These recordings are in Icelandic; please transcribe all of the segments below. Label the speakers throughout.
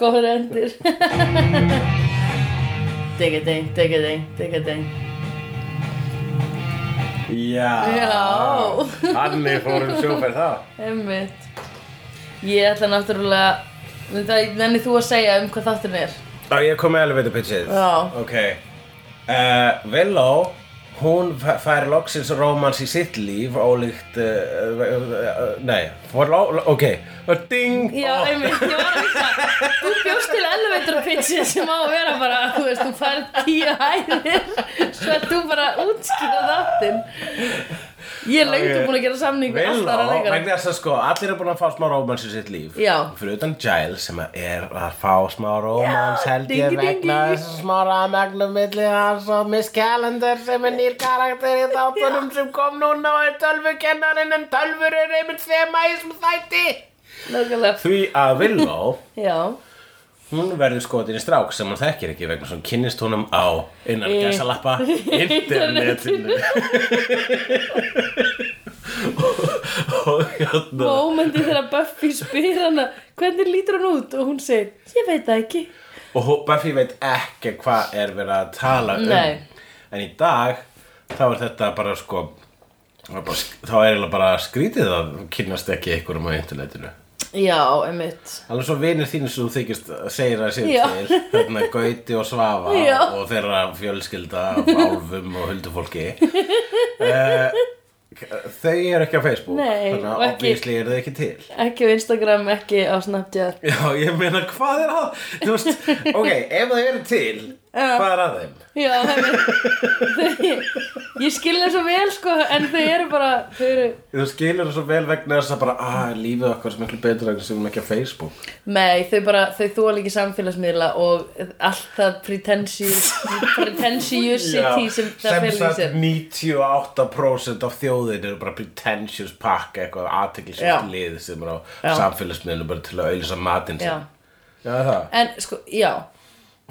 Speaker 1: góður endur Diggading, diggading, diggading
Speaker 2: Já.
Speaker 1: Já.
Speaker 2: Þannig fórum sjóferð þá.
Speaker 1: Einmitt Ég ætla náttúrulega Við það- Nenni þú að segja um hvað þátturinn er
Speaker 2: Já, ég kom með elevator pitchið.
Speaker 1: Já.
Speaker 2: Ok. Uh, Willow, hún fæ- fær loksins rómans í sitt líf, ólíkt, uh, uh, uh, nei, for lo, lo- ok. Og ding!
Speaker 1: Já, einmitt, ég var að vita Þú bjóst til elevator pitchi sem á að vera bara Þú veist, þú færð tíu hæðir Svo að þú bara útskýra þáttinn Ég er lengt
Speaker 2: Ok.
Speaker 1: búin að gera samning við allt aðra
Speaker 2: Willow,
Speaker 1: leikara
Speaker 2: vegna þess að sko, allir er búin að fá smá rómans í sitt líf
Speaker 1: Já.
Speaker 2: Fyrir utan Giles sem að er að fá smá rómans held ég
Speaker 1: dingi,
Speaker 2: vegna
Speaker 1: dingi.
Speaker 2: þess að smá ramagnum milli hans og Miss Calendar sem er nýr karakter í þáttunum sem kom núna og er tölvukennarinn en tölvur er einmitt þema í þessum þætti
Speaker 1: Nákvæmlega,
Speaker 2: Því að Willow,
Speaker 1: já
Speaker 2: hún verður skotin í strák sem hún þekkir ekki vegna sem hún kynnist honum á innan gæsalappa internetinu og hérna
Speaker 1: Mómenti þegar Buffy spyr hana Hvernig lítur hún út? Og hún segir, ég veit það ekki
Speaker 2: Og hó- Buffy veit ekki hvað er verið að tala um
Speaker 1: Nei.
Speaker 2: En í dag þá er þetta bara sko þá er bara sk- þá er eiginlega bara skrítið að kynnast ekki einhverjum á internetinu
Speaker 1: Já, einmitt
Speaker 2: Alveg svo vinir þínu sem þú þykist eh, segir að sér
Speaker 1: Já.
Speaker 2: til þarna Gauti og Svafa
Speaker 1: Já.
Speaker 2: og þeirra fjölskylda af álfum og huldufólki uh, Þau eru ekki á Facebook
Speaker 1: Nei,
Speaker 2: þannig
Speaker 1: og
Speaker 2: að
Speaker 1: ekki-
Speaker 2: obvísli eru þau ekki til
Speaker 1: Ekki á Instagram, ekki á Snapchat
Speaker 2: Já, ég meina hvað er að Þú veist, ok, ef þau eru til
Speaker 1: Já.
Speaker 2: hvað er að þeim?
Speaker 1: Já, einmitt Þau- Ég skil það svo vel sko En þau eru bara, þau eru
Speaker 2: Þú skilur það svo vel vegna þess að bara að lífið okkar sem miklu betur en sem ekki á Facebook
Speaker 1: Nei, þau bara, þau þóla ekki samfélagsmiðla og allt það pretentious, pretentiousity sem það
Speaker 2: sem
Speaker 1: fyrir í
Speaker 2: sagt
Speaker 1: sér.
Speaker 2: 98% af þjóðin eru bara pretentious pakka eitthvað
Speaker 1: Já.
Speaker 2: aðteklisvægt lið sem er á
Speaker 1: Já.
Speaker 2: samfélagsmiðlum bara til að auðvisa matinn
Speaker 1: Já,
Speaker 2: sinn Já, það,
Speaker 1: en sko, já,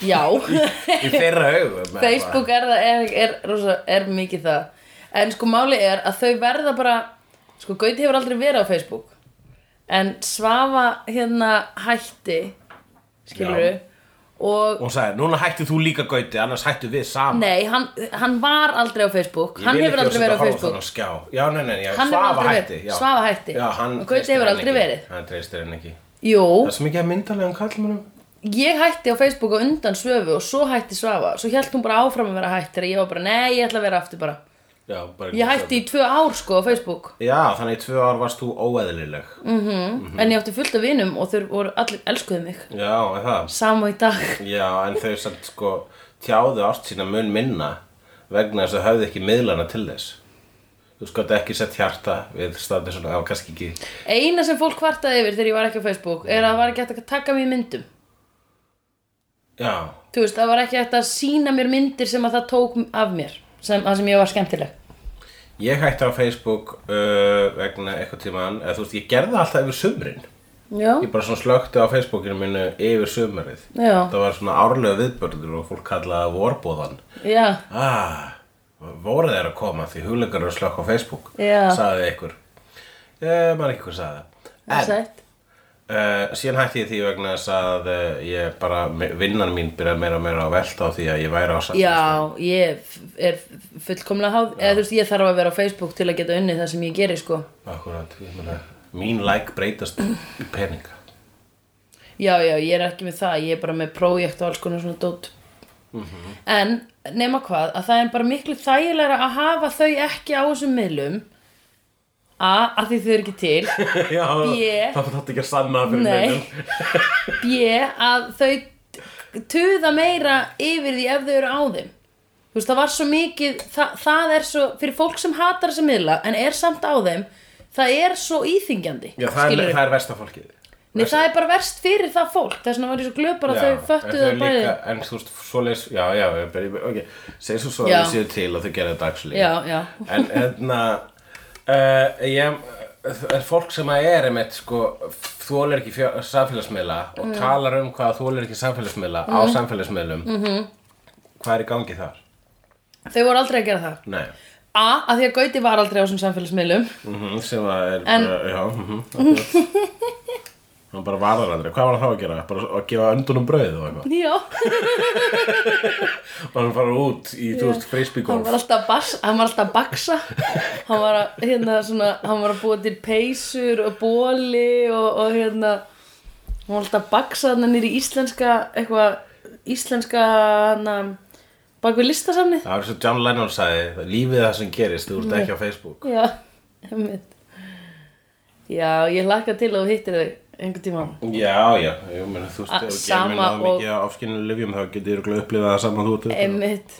Speaker 1: já,
Speaker 2: í þeirra augum
Speaker 1: Facebook er það, er, er, rosa, er mikið það. En sko, máli er að þau verða bara, sko, Gauti hefur aldrei verið á Facebook, en Svafa hérna hætti, skilur
Speaker 2: Já.
Speaker 1: og
Speaker 2: Og hún sagði, núna hættu þú líka gauti, annars hættu við saman
Speaker 1: nei, hann, hann var aldrei á Facebook,
Speaker 2: Ég
Speaker 1: hann
Speaker 2: vil
Speaker 1: hefur
Speaker 2: ekki
Speaker 1: aldrei verið á
Speaker 2: setja
Speaker 1: Facebook.
Speaker 2: horfa á þann skjá. Já, nei, nei, já,
Speaker 1: Hann hefur
Speaker 2: Svafa
Speaker 1: aldrei verið-
Speaker 2: hætti já.
Speaker 1: Svafa hætti.
Speaker 2: Já, hann
Speaker 1: Og Gauti
Speaker 2: treystir
Speaker 1: hefur
Speaker 2: henni
Speaker 1: aldrei
Speaker 2: ekki.
Speaker 1: verið.
Speaker 2: Hann treystir henni ekki
Speaker 1: Jú,
Speaker 2: Það er svo mikið að myndalega um kallmennum
Speaker 1: ég hætti á Facebook á undan Svöfu og svo hætti Svafa svo held hún bara áfram að vera hætt þegar ég var bara, nei, ég ætla að vera aftur bara
Speaker 2: Já, bara
Speaker 1: ég hætti í tvö ár sko á Facebook
Speaker 2: Já, þannig í tvö ár varst þú óeðlileg Mhm.
Speaker 1: en ég átti fullt af vinum og þau voru allir elskuðu mig
Speaker 2: Já, er það
Speaker 1: sama í dag
Speaker 2: Já, en þau samt sko tjáðu ást sína mun minna vegna þess að höfðu ekki miðlana til þess Þú sko þetta ekki sett hjarta við staðið svona, það var kannski ekki
Speaker 1: eina sem fólk kvartaði yfir þegar ég var ekki á Facebook er að það var ekki hægt að taka mér myndum
Speaker 2: Já,
Speaker 1: þú veist, það var ekki hægt að sína mér myndir sem að það tók af mér sem, að sem ég var skemmtileg
Speaker 2: ég hætti á Facebook uh, vegna eitthvað tíman eða þú veist, ég gerði það alltaf yfir sumrin
Speaker 1: já,
Speaker 2: Ég bara svona slökkti á Facebookinu mínu yfir sumarið
Speaker 1: já,
Speaker 2: Það var svona árlega viðbörður og fólk kallaði það vorbóðan
Speaker 1: já
Speaker 2: Ah, voru þeir að koma því hugleikar eru að slökk á Facebook
Speaker 1: Já.
Speaker 2: sagði ykkur ég maður ekki hvað sagði það en
Speaker 1: sætt.
Speaker 2: uh, síðan hætti ég því vegna þess að uh, ég bara, me- vinnan mín byrjaði meira og meira að velta á því að ég væri á samt
Speaker 1: Já, ég f- er fullkomlega háð, eða þú veist, ég þarf að vera á Facebook til að geta unnið það sem ég geri, sko.
Speaker 2: akkurat, ég meina mín like breytast í peninga
Speaker 1: Já, já, ég er ekki með það, ég er bara með projekt og alls konar svona dót. Mhm. En, nema hvað, að það er bara miklu þægilega að hafa þau ekki á þessum miðlum, A, að því þau eru ekki til,
Speaker 2: Já,
Speaker 1: Ég-
Speaker 2: það þátti ekki að sanna fyrir
Speaker 1: Nei.
Speaker 2: neinum.
Speaker 1: B, að þau t- tuða meira yfir því ef þau eru á þeim. Þú veist, það var svo mikið, það, það er svo, fyrir fólk sem hatar þessa miðla, en er samt á þeim, það er svo íþingjandi.
Speaker 2: Já, það er,
Speaker 1: skilurðu.
Speaker 2: það er versta fólkið
Speaker 1: Nei, það er bara verst fyrir það fólk Þess vegna var ég svo glöð bara að þau föttu þau bæði
Speaker 2: líka, en þú veist, svoleiðis, já, já, ég byrja, ok, segir svo svo að
Speaker 1: Já.
Speaker 2: þau séu til að þau gera þetta actually.
Speaker 1: Já, já
Speaker 2: en hérna uh, ég, er fólk sem að er einmitt sko, þólir ekki fjö, samfélagsmiðla og
Speaker 1: Mm.
Speaker 2: talar um hvað þólir ekki samfélagsmiðla á
Speaker 1: Mm-hmm.
Speaker 2: samfélagsmiðlum -hmm. hvað er í gangi þar?
Speaker 1: Þau voru aldrei að gera það
Speaker 2: Nei,
Speaker 1: A, að því að Gauti var
Speaker 2: Mm-hmm,
Speaker 1: aldrei á þessum samfélagsmiðlum
Speaker 2: mm sem að er
Speaker 1: En-
Speaker 2: bara, já, mm -hmm, hann bara varðar andri, hvað var hann þá að gera? bara að gefa öndunum brauð og eitthvað
Speaker 1: Já,
Speaker 2: og hann fara út í, þú veist, frisbee
Speaker 1: hann
Speaker 2: golf
Speaker 1: var alltaf, bas, hann var alltaf að baksa hann var að, hérna, svona, hann var að búa til peysur og bóli og, og hérna hann var alltaf að baksa hann nýri íslenska eitthvað, íslenska hann bak við listasamnið
Speaker 2: það var svo John Lennon sagði lífið er það sem gerist, þú
Speaker 1: Mm.
Speaker 2: ert ekki á Facebook
Speaker 1: Já, einmitt Já, ég hlakka til að þú hittir þau einhvern tíma
Speaker 2: já, já, ég meina, þú veist,
Speaker 1: A-
Speaker 2: ef þú
Speaker 1: sama
Speaker 2: gemir náðu
Speaker 1: og-
Speaker 2: mikið á ofskinu livjum þá getur þú upplifað það saman þú ert utan á.
Speaker 1: Einmitt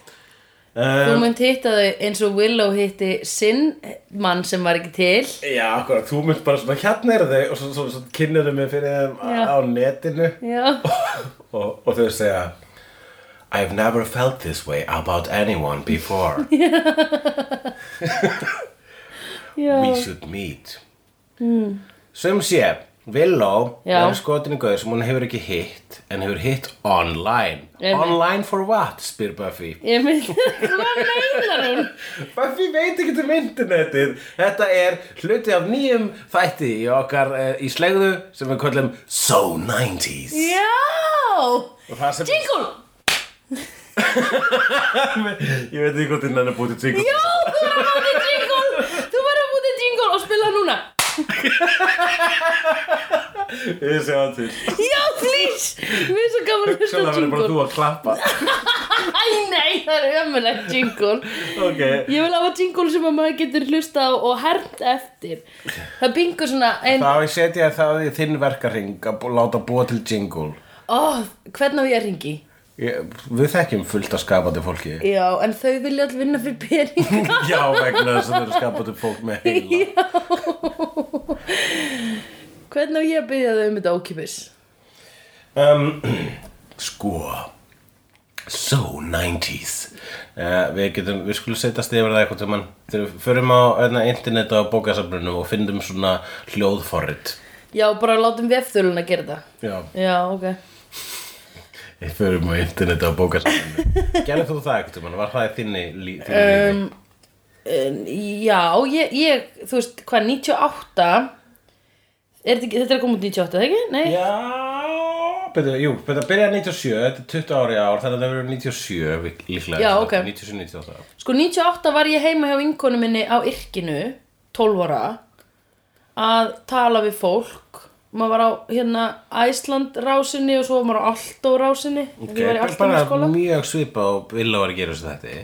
Speaker 2: Eh,
Speaker 1: Þú munt hitta þau eins og Willow hitti sinn mann sem var ekki til
Speaker 2: Já, akkurat, þú mynd bara svona hérna eru þau og svo, svo, svo kynnir þau mig fyrir þeim
Speaker 1: Já.
Speaker 2: á netinu
Speaker 1: Já
Speaker 2: og, og þau segja I've never felt this way about anyone before
Speaker 1: Já,
Speaker 2: We should meet Sum sé, Willow
Speaker 1: Já.
Speaker 2: er skotinu gauður sem hún hefur ekki hitt en hefur hitt online
Speaker 1: Einmitt.
Speaker 2: Online for what, spyr Buffy
Speaker 1: einmitt Hvað meinar hún?
Speaker 2: Buffy veit ekki um internetið Þetta er hluti af nýjum þætti í okkar eh, í slegðu sem við köllum So 90s
Speaker 1: Já
Speaker 2: Og það sem
Speaker 1: Jingle
Speaker 2: Ég veit ekki hvort þinn er búið til tvíkvæm
Speaker 1: Já, þú verður að búti jingle Þú verður að búti jingle og spila hann núna
Speaker 2: Ég sé það til
Speaker 1: Já, please Mér er svo gaman að hlusta á
Speaker 2: Sjálf verður bara
Speaker 1: jingle
Speaker 2: þú að klappa
Speaker 1: Æ, nei, það er ömulegt jingle
Speaker 2: Ok
Speaker 1: Ég vil hafa jingle sem að maður getur hlusta á og hernt eftir Það bingur svona ein,
Speaker 2: Þá setja ég það í þinn verkarring að bú- láta búa til jingle
Speaker 1: ó, hvernig á ég að ringi?
Speaker 2: ég, Við þekkjum fullt af skapandi fólki
Speaker 1: Já, en þau vilja all vinna fyrir peninga
Speaker 2: Já, vegna þess að þau eru skapandi fólk með heila
Speaker 1: Hvernig á ég að byggja þau um þetta ókipis?
Speaker 2: um, Sko So 90s uh, Við getum, við skulum setjast yfir það eitthvað tímann Þegar við förum á hérna, internet og bókasafnunum og finnum svona hljóðforrit
Speaker 1: Já, bara látum vefþölun að gera það
Speaker 2: Já,
Speaker 1: Já, ok
Speaker 2: við förum á internet og bókasafnunum Gerðu þú það eitthvað tímann? Var það í þinni, lí- þínu lífi?
Speaker 1: En, Já, ég, ég, þú veist, hvað, 98 er þetta, ekki- þetta er að koma út 98, eða ekki? Nei?
Speaker 2: Já, betur, jú, betur að byrja 97, þetta er 20 ári ár, þannig að það verður 97 lík- líklega
Speaker 1: Já, ok.
Speaker 2: 97-98
Speaker 1: Sko, 98 var ég heima hjá vinkonu minni á yrkinu, 12 ára, að tala við fólk. Maður var á, hérna, Æsland rásinni og svo var maður á Alltó rásinni.
Speaker 2: Ok,
Speaker 1: Ég var í Alltó
Speaker 2: bara
Speaker 1: skóla.
Speaker 2: mjög svipa og vilja var að gera þessu þetta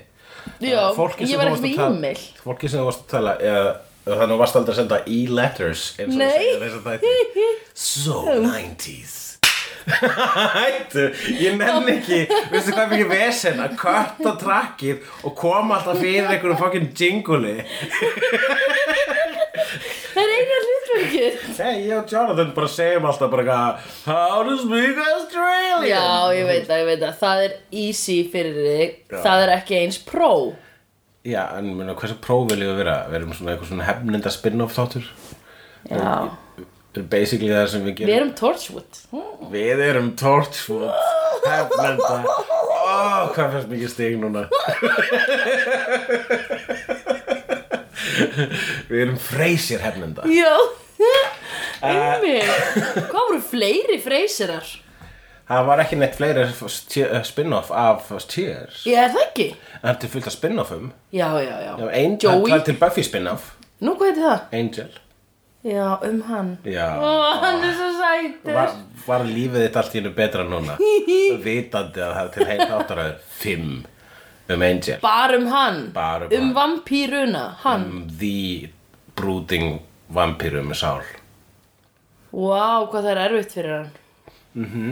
Speaker 1: Já,
Speaker 2: fólki sem
Speaker 1: ég var
Speaker 2: þú
Speaker 1: ekki
Speaker 2: varst
Speaker 1: með
Speaker 2: að tala-
Speaker 1: e-mail.
Speaker 2: fólki sem þú varst að tala eða, eða þannig að þú varst aldrei að senda e-letters eins og
Speaker 1: Nei.
Speaker 2: segja þess að þætti so 90s Hættu, ég nenni ekki veistu hvað er mikið vesen að kötta trakkið og koma alltaf fyrir einhverjum fokkin jinguli
Speaker 1: Það er eina hlutverkið.
Speaker 2: Nei, ég og Jonathan bara segjum alltaf bara eitthvað How to speak Australian
Speaker 1: Já, ég veit það, ég veit það. Það er easy fyrir þig.
Speaker 2: Já.
Speaker 1: Það er ekki eins pró.
Speaker 2: Já, en myrna, hversu próf viljum við vera? Við erum svona eitthvað svona hefninda spin-off þáttur
Speaker 1: Já.
Speaker 2: Þetta er basically það sem við gerum
Speaker 1: Við erum Torchwood. Hmm.
Speaker 2: Við erum Torchwood Hefnenda Ó, hvað fannst mikið stig núna Við erum freysir hefnenda
Speaker 1: Já
Speaker 2: Eh.
Speaker 1: Einmitt Hvað voru fleiri freysirar?
Speaker 2: Það var ekki neitt fleiri stjö- spin-off af Cheers
Speaker 1: Ég er það ekki
Speaker 2: En þetta er fullt af spin-offum
Speaker 1: Já, já, já,
Speaker 2: Já, Angel,
Speaker 1: Joey,
Speaker 2: það er til Buffy spin-off
Speaker 1: nú hvað heitir það?
Speaker 2: Angel
Speaker 1: Já, um hann Ó,
Speaker 2: Já
Speaker 1: hann er svo sætur
Speaker 2: Var, var lífið þitt allt í hennu betra núna Vitandi að það er til heim þáttaröð Fimm um Angel
Speaker 1: Bara um hann
Speaker 2: Bara um
Speaker 1: Um
Speaker 2: hann.
Speaker 1: vampíruna, hann
Speaker 2: um The Brooding Vampíru með sál
Speaker 1: Vá, hvað það er erfitt fyrir hann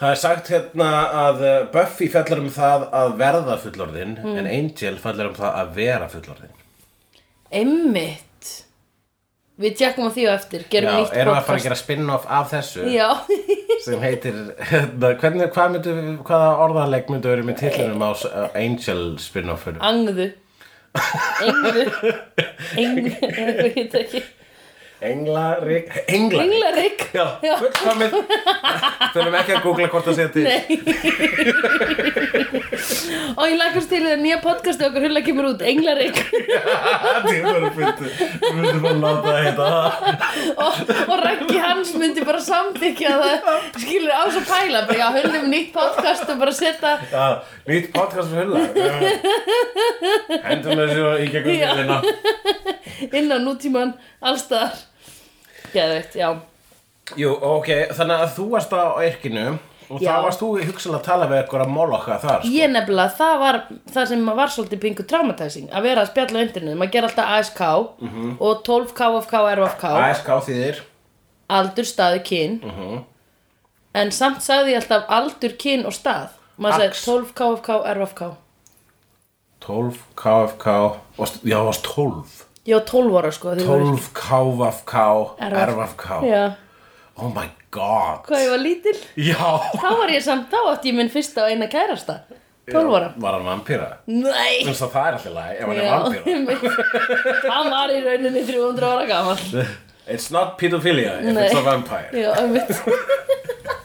Speaker 2: Það er sagt hérna að uh, Buffy fjallar um það að verða fullorðin
Speaker 1: Mm.
Speaker 2: en Angel fjallar um það að vera fullorðin
Speaker 1: Einmitt Við tjekkum á því á eftir Gerum
Speaker 2: Já,
Speaker 1: nýtt
Speaker 2: erum við að fara að
Speaker 1: podcast
Speaker 2: gera spin-off af þessu
Speaker 1: Já,
Speaker 2: sem heitir hérna, hvernig, hvað myndu, hvaða orðanleik myndu verið með tillinum á s- á Angel spin-offinu?
Speaker 1: angðu Engðu Engðu, eða hvað heitir ekki
Speaker 2: Englarík Englarík
Speaker 1: Englarík
Speaker 2: Já,
Speaker 1: Já.
Speaker 2: fullkomið Þurfum ekki að googla hvort það seti
Speaker 1: Og ég lakast til þegar nýja podcasti okkar hulla kemur út Englarík
Speaker 2: Ah, Það voru fyndið Við myndum að láta það heita Ah, það
Speaker 1: og, og Raggi Hans myndi bara samþykja það skilur á svo pæla bara já, höllum nýtt podcast og bara setja
Speaker 2: Já, ah, nýtt podcast fyrir hulla Hendum þessu í gegnum
Speaker 1: Já.
Speaker 2: viðina
Speaker 1: inn á nútíman allstaðar Geðveikt, já
Speaker 2: Jú, ok, þannig að þú varst á Yrkinu Og
Speaker 1: Já.
Speaker 2: þá varst þú hugsanlega að tala við eitthvað að mólokka þar sko.
Speaker 1: Ég nefnilega, það var það sem maður var svolítið pingu traumatizing að vera að spjalla á internetu, maður ger alltaf ASK og 12 KFK RFK
Speaker 2: ASK þýðir
Speaker 1: aldur, staðu, kyn en samt sagði ég alltaf aldur, kyn og stað maður sagði
Speaker 2: Ax.
Speaker 1: 12 KFK RFK
Speaker 2: 12 KFK varst, Já, það varst 12
Speaker 1: ég var 12 ára sko þegar ég var-
Speaker 2: 12 KFK RFK
Speaker 1: Já,
Speaker 2: Oh my god
Speaker 1: hvað ég var lítil
Speaker 2: Já
Speaker 1: Þá var ég samt, þá átti ég minn fyrsta og eina kærasta 12 ára
Speaker 2: Var hann vampíra?
Speaker 1: Nei
Speaker 2: Þú veist að það er alltaf læg ef hann er
Speaker 1: Já,
Speaker 2: vampíra
Speaker 1: einmitt. Hann var í rauninni 300 ára gammal
Speaker 2: It's not pedophilia if
Speaker 1: Nei.
Speaker 2: it's a vampire
Speaker 1: Já, einmitt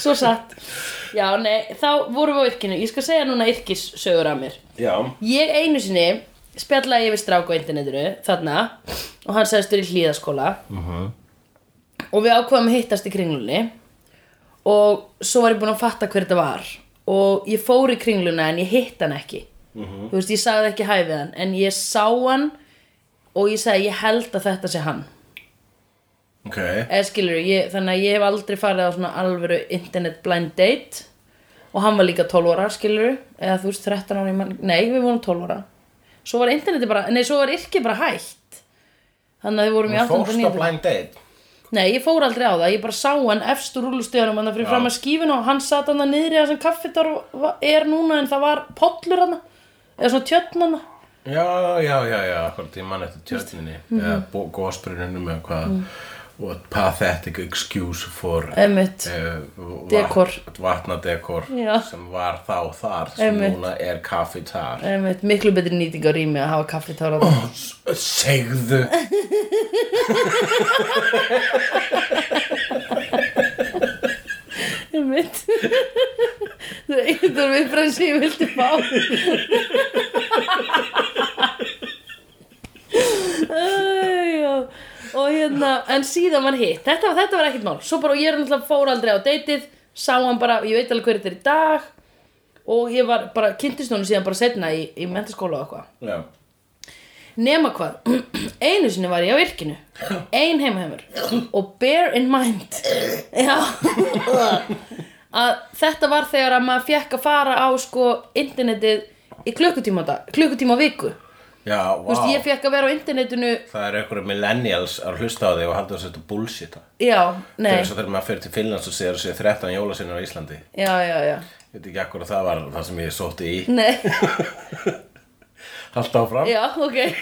Speaker 1: Svo satt Já, nei, þá vorum við á yrkinu Ég skal segja núna yrkissögur að mér
Speaker 2: Já
Speaker 1: Ég einu sinni spjallaði yfir strák á internetinu þarna og hann segðistur í hlíðaskóla og við ákvaðum að hittast í kringlunni og svo var ég búin að fatta hver þetta var og ég fór í kringluna en ég hitt hann ekki þú veist, ég sagði ekki hæ við hann en ég sá hann og ég sagði ég held að þetta sé hann
Speaker 2: Ok
Speaker 1: eða skilur, ég, þannig að ég hef aldrei farið á svona alvöru internet blind date og hann var líka 12 ára skilur, eða þú veist 13 ára ég man, nei, við vorum 12 ára svo var interneti bara, nei, svo var yrki bara hætt þannig að við vorum í 18.
Speaker 2: Þú
Speaker 1: og
Speaker 2: fórst á
Speaker 1: 19.
Speaker 2: blind date
Speaker 1: Nei, ég fór aldrei á það, ég bara sá hann efst úr rúlustöðunum hann fyrir
Speaker 2: Já.
Speaker 1: fram að skífinu og hann sat hann niðri að sem kaffetar er núna en það var pollur hann eða svona tjötn hann
Speaker 2: Já, já, já, já Hvort ég mann eftir tjörninni
Speaker 1: mhm.
Speaker 2: Eða mm. gósbrununum eða hvað
Speaker 1: Mm.
Speaker 2: What pathetic excuse for
Speaker 1: Einmitt.
Speaker 2: eh, vat-
Speaker 1: Dekor.
Speaker 2: Vatnadekor
Speaker 1: Já.
Speaker 2: Sem var þá þar Sem
Speaker 1: Einmitt.
Speaker 2: núna er kaffi þar
Speaker 1: Einmitt, miklu betri nýting á rými að hafa kaffetar oh.
Speaker 2: S- Segðu
Speaker 1: Eh. Einmitt Það er eitthvað viðbræðin sem ég vildi fá Æ, já. Og hérna, en síðan var hitt Þetta, þetta var ekkert mál Svo bara, og ég er náttúrulega fór aldrei á deytið Sá hann bara, ég veit alveg hver þetta er í dag Og ég var bara, kynntist honum síðan bara setna í, í mentaskóla og eitthvað
Speaker 2: Já
Speaker 1: Nema hvað, einu sinni var ég á virkinu Ein heimahemur Og bear in mind Já að Þetta var þegar að maður fekk að fara á sko internetið í klukkutíma, á dag, klukkutíma á viku Þú
Speaker 2: Já, wow
Speaker 1: veist, ég fekk að vera á internetinu
Speaker 2: Það eru einhverju millennials að hlusta á þig og halda þess að þetta er bullshit
Speaker 1: Já, nei,
Speaker 2: Þegar svo þegar maður fyrir til Finnlands og segir þessi 13 jólasinnar á Íslandi
Speaker 1: já, já, já
Speaker 2: Ég veit ekki akkur að það var það sem ég sótti í
Speaker 1: Nei,
Speaker 2: Halda áfram
Speaker 1: já, ok Ég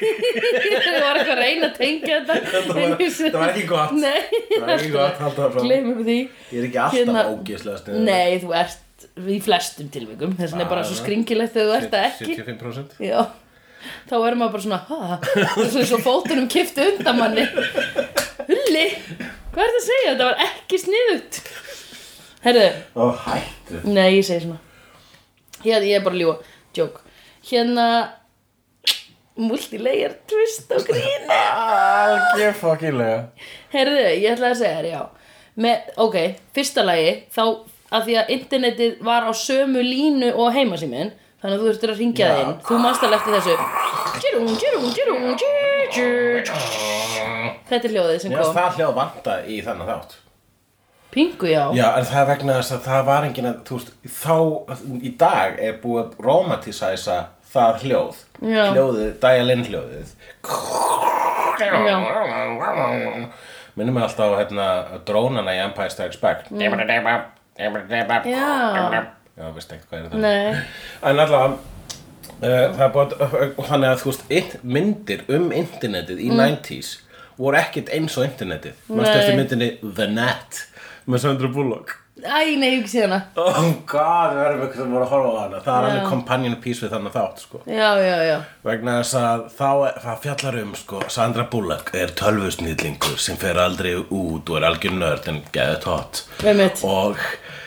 Speaker 1: var eitthvað að reyna að tengja þetta
Speaker 2: Þetta var- þetta var ekki gott.
Speaker 1: Nei,
Speaker 2: Það er ekki gott, halda áfram
Speaker 1: Gleymum því
Speaker 2: Ég er ekki alltaf
Speaker 1: Hérna-
Speaker 2: ógeðslega sniður
Speaker 1: Nei, þú ert í flestum tilvikum þess vegna er bara svo skringilegt þegar þú ert það ekki
Speaker 2: 75%
Speaker 1: Já, þá er maður bara svona ha, þessu eins og fótunum kipti undan manni Hulli, hvað er það að segja? Þetta var ekki sniðugt Herðu,
Speaker 2: Ó, hættu
Speaker 1: nei, ég segi svona Hérna, ég er bara að ljúga, djók Hérna multilayer twist og grín
Speaker 2: Algeð fokkilega
Speaker 1: Herðu, ég ætla að segja þér, já. Með, ok, fyrsta lagi, þá að því að internetið var á sömu línu og heimasíminn, þannig að þú þurftur að ringja það
Speaker 2: Já.
Speaker 1: inn. Þú manst alveg eftir þessu. Tjúrún, tjúrún, tjúrún, tjú, tjú, tjú. Þetta er hljóðið sem
Speaker 2: Mér finnst
Speaker 1: kom.
Speaker 2: það hljóð vanta í þannig þátt
Speaker 1: Pingu, já.
Speaker 2: Já, en það er vegna þess að það var enginn að, þú veist, þá í dag er búið að romantisæsa það hljóð,
Speaker 1: Já.
Speaker 2: hljóðið, dial-in hljóðið.
Speaker 1: Já.
Speaker 2: Minnum við alltaf á hérna, drónana í Empire Strikes Back.
Speaker 1: Já.
Speaker 2: Já, veist ekkert hvað er það.
Speaker 1: Nei.
Speaker 2: En allavega, uh, það er búið, að- eh, þannig að þú veist, int, myndir um internetið
Speaker 1: Mm.
Speaker 2: í 90s voru ekkert eins og internetið. Manstu
Speaker 1: Nei.
Speaker 2: eftir myndinni The Net með Sandra Bullock.
Speaker 1: Æ, nei, ég hef ekki hérna. séð hana
Speaker 2: Oh god, við verðum eitthvað sem voru að horfa á hana Það er
Speaker 1: Já.
Speaker 2: alveg companion piece við þannig þátt sko.
Speaker 1: Já, já, já
Speaker 2: Vegna þess að þá er, það fjallar um sko, Sandra Bullock er tölvusnýðlingur sem fer aldrei út og er algjör nörd en geðið tótt
Speaker 1: Einmitt.
Speaker 2: og,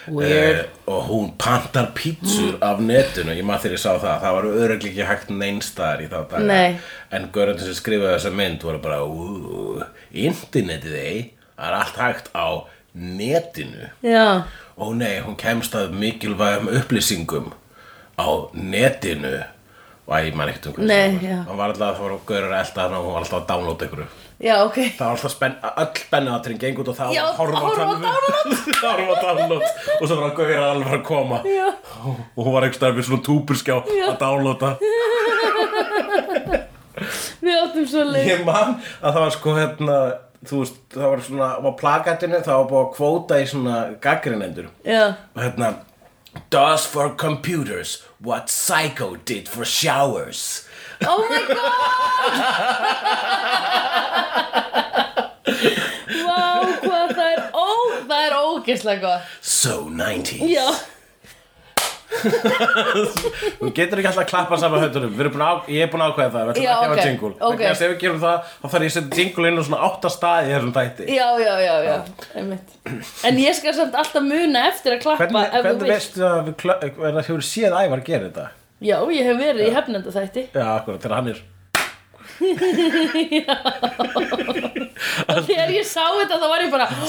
Speaker 2: eh,
Speaker 1: Weird. Mm.
Speaker 2: og hún pantar pítsur af netinu ég maður þegar ég sá það, það var örugglega ekki hægt neinstaðar í þá daga
Speaker 1: Nei.
Speaker 2: en görundur sem skrifaði þessa mynd voru bara "Ú, internetið ei það er allt hægt á netinu
Speaker 1: Já,
Speaker 2: Ó nei, hún kemst að mikilvægum upplýsingum á netinu og að ég man ekkert um hvað
Speaker 1: Nei,
Speaker 2: það var.
Speaker 1: já.
Speaker 2: Hún var alltaf að það voru gaurur að elda hana og hún var alltaf að downloada ykkur
Speaker 1: já, ok
Speaker 2: Það var alltaf spenn, öll spennaðatrinn geng út og það
Speaker 1: Já, horfa á
Speaker 2: download Horfa á download og svo var gaurur alveg að koma
Speaker 1: Já.
Speaker 2: og hún var einhverstað við svona túpurskjá
Speaker 1: Já.
Speaker 2: að downloada
Speaker 1: Við áttum svo leið
Speaker 2: Ég man að það var sko hérna þú veist, það var svona á plakatinu það var búið að kvóta í svona gaggrinendur
Speaker 1: Já,
Speaker 2: og hérna Does for computers what Psycho did for showers
Speaker 1: oh my god Vá, hvað það er ó, það er ógeðslega gott
Speaker 2: So 90s
Speaker 1: Já,
Speaker 2: Þú getur ekki alltaf að klappa saman höndunum Við erum búin að, Ég er búin að ákveða það Við
Speaker 1: Já,
Speaker 2: ætlum ekki að
Speaker 1: ok,
Speaker 2: hafa jingle
Speaker 1: ok.
Speaker 2: Vegna þess að Ef við gerum það þá þarf ég að setja jingle inn á svona átta staði í þessum þætti
Speaker 1: já, já, já, já Einmitt. En ég skal samt alltaf muna eftir að klappa
Speaker 2: Hvernig,
Speaker 1: ef þú
Speaker 2: hvernig
Speaker 1: vilt.
Speaker 2: veistu að við klö- hvernig hefur séð Ævar gera þetta?
Speaker 1: Já, ég hef verið í hefnenda þætti
Speaker 2: Já, akkurat, þegar hann er
Speaker 1: og þegar ég sá þetta þá var ég bara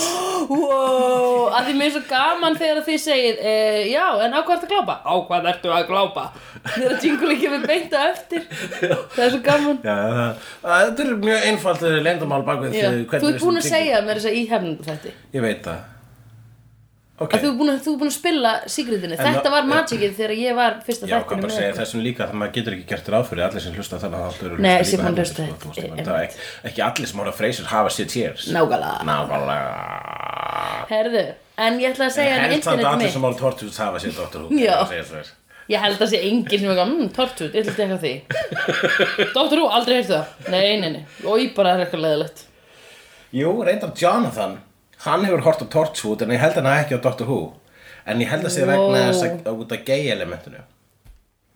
Speaker 1: wow, að því mér er svo gaman þegar þið segir e, já, en á hvað ertu að glápa? á hvað ertu að glápa þegar jingle ekki við beinta eftir það er svo gaman
Speaker 2: Já, það, að þetta er mjög einfalt leyndamál bakvið
Speaker 1: já.
Speaker 2: því
Speaker 1: þú
Speaker 2: hvernig
Speaker 1: ert
Speaker 2: við
Speaker 1: búin að
Speaker 2: setjum jingle.
Speaker 1: segja mér þess að í hefnum þetta
Speaker 2: Ég veit það Ok
Speaker 1: að þú ert búin að, þú ert búin að spila sigriðinu
Speaker 2: En
Speaker 1: þetta
Speaker 2: það-
Speaker 1: var magicið þegar ég var fyrsta
Speaker 2: Já, hvað
Speaker 1: þættinu
Speaker 2: bara að segja þessum líka, þannig að maður getur ekki gert ráð fyrir allir sem hlusta þannig að allt eru
Speaker 1: Nei, sem
Speaker 2: líka
Speaker 1: hann
Speaker 2: hérna,
Speaker 1: hlusta,
Speaker 2: sko, þú veist,
Speaker 1: einmitt.
Speaker 2: það er ekki, ekki allir sem ára freysir hafa sér tears
Speaker 1: nákvæmlega
Speaker 2: Nákvæmlega
Speaker 1: herðu, en ég ætla að segja um
Speaker 2: Helst
Speaker 1: internet
Speaker 2: þannig að allir
Speaker 1: mitt
Speaker 2: sem ára tortúrs hafa sér Dr. Who
Speaker 1: Já.
Speaker 2: það segja svo þér.
Speaker 1: ég held að sé enginn sem er gaman, mmm, tortut, ég ætla að tekja því Dr. Who, aldrei heyrtu það nei, nei, nei, og ég bara er eitthvað leðilegt
Speaker 2: Jú, reyndar Jonathan, hann hefur hort á Torchwood en ég held hann ekki á Dr. Who En ég held að sé vegna
Speaker 1: Wow.
Speaker 2: þess að út af gay elementinu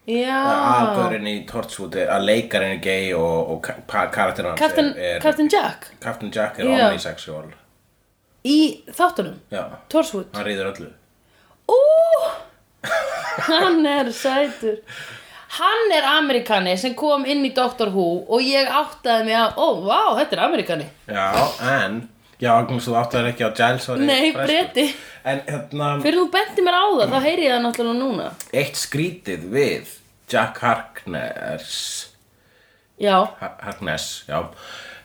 Speaker 1: Já,
Speaker 2: Aðgörinn í Torchwood, er- að leikarinn er gay og, og ka- karakterinn hans
Speaker 1: Captain,
Speaker 2: er, er
Speaker 1: Captain Jack
Speaker 2: Captain Jack er
Speaker 1: Já.
Speaker 2: omnisexual
Speaker 1: í þáttunum,
Speaker 2: Já,
Speaker 1: Torswood
Speaker 2: hann rýður öllu
Speaker 1: Ú, hann er sætur Hann er Amerikani sem kom inn í Doctor Who og ég áttaði mig að, ó, vá, þetta er Amerikani
Speaker 2: Já, en Já, Agnes, þú áttu þér ekki á Giles var í
Speaker 1: Nei,
Speaker 2: fresku.
Speaker 1: Breti.
Speaker 2: En hérna,
Speaker 1: Fyrir þú benti mér á það, þá heyri ég það náttúrulega núna
Speaker 2: eitt skrítið við Jack Harkness
Speaker 1: Já,
Speaker 2: Ha- Harkness, já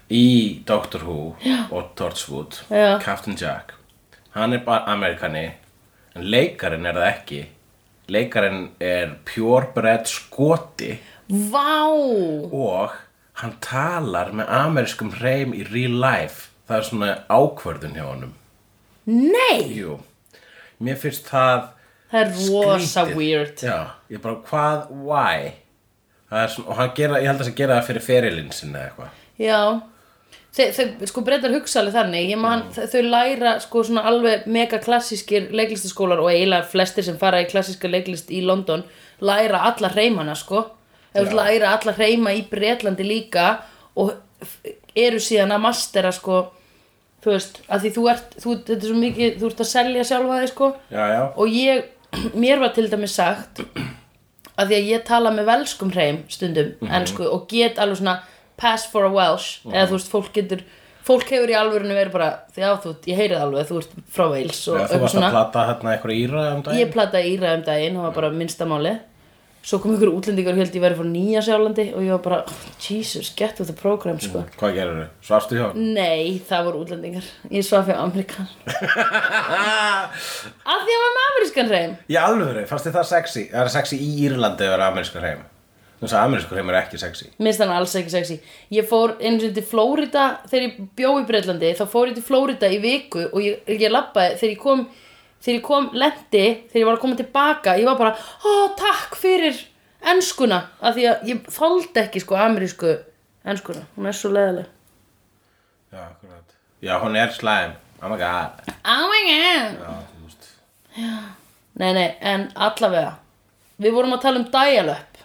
Speaker 2: Í Doctor Who já. og Torchwood
Speaker 1: Já.
Speaker 2: Captain Jack Hann er bara Amerikani En leikarinn er það ekki Leikarinn er purebred skoti
Speaker 1: vá
Speaker 2: Og hann talar með amerískum hreim í real life Það er svona ákvörðun hjá honum
Speaker 1: Nei,
Speaker 2: Jú, mér finnst það
Speaker 1: það er rosa
Speaker 2: skrítið.
Speaker 1: weird
Speaker 2: Já, ég bara, hvað, why? Það er svona, og hann gera, ég held að það gera það fyrir ferilinn sinni eða eitthvað
Speaker 1: Já Þe, þau, sko breytar hugsa alveg þannig ég man, mm. þau læra sko svona alveg mega klassískir leiklistaskólar og eiginlega flestir sem fara í klassíska leiklist í London læra alla hreimana sko eða
Speaker 2: Já.
Speaker 1: læra alla hreima í Bretlandi líka og f- eru síðan að mastera sko þú veist, að því þú ert þú, þetta er svo mikið, þú ert að selja sjálfa þig sko
Speaker 2: Já, já,
Speaker 1: og ég, mér var til dæmis sagt að því að ég tala með velskum hreim stundum
Speaker 2: Mhm.
Speaker 1: ensku og get alveg svona pass for a Welsh eða þú veist, fólk getur fólk hefur í alvörinu verið bara já, þú, ég heyrið alveg að þú ert frá Wales og
Speaker 2: já þú
Speaker 1: eitthvað
Speaker 2: varst að plata hérna einhverja íra um
Speaker 1: Sko, um ég
Speaker 2: daginn
Speaker 1: plataði Íra um daginn, það var bara minnsta máli svo kom ykkur útlendingar og held ég verið frá Nýja Sjálandi og ég var bara, oh, Jesus, get with the program sko
Speaker 2: Hvað gerirðu? Svarstu hjá? hann?
Speaker 1: Nei, það voru útlendingar. Ég svaf hjá Amerikan. Af því að var með amerískan hreim.
Speaker 2: Í alvöru, fannst þið það sexy? Það er sexy í Írlandi að vera amerískur hreim Þess að amerískur hreim er ekki sexy
Speaker 1: minnst hann alls ekki sexy ég fór einu sinni til Flórida þegar ég bjó í Breitlandi þá fór ég til Flórida í viku og ég, ég labbaði þegar ég kom þegar ég kom lendi, þegar ég var að koma tilbaka ég var bara, ó takk fyrir enskuna, af því að ég þoldi ekki sko amerísku enskuna hún er svo leðileg
Speaker 2: Já, akkurat Já, hún er slæm Oh my god
Speaker 1: oh my god
Speaker 2: Já, þú veist
Speaker 1: Nei, nei, en allavega Við vorum að tala um dial-up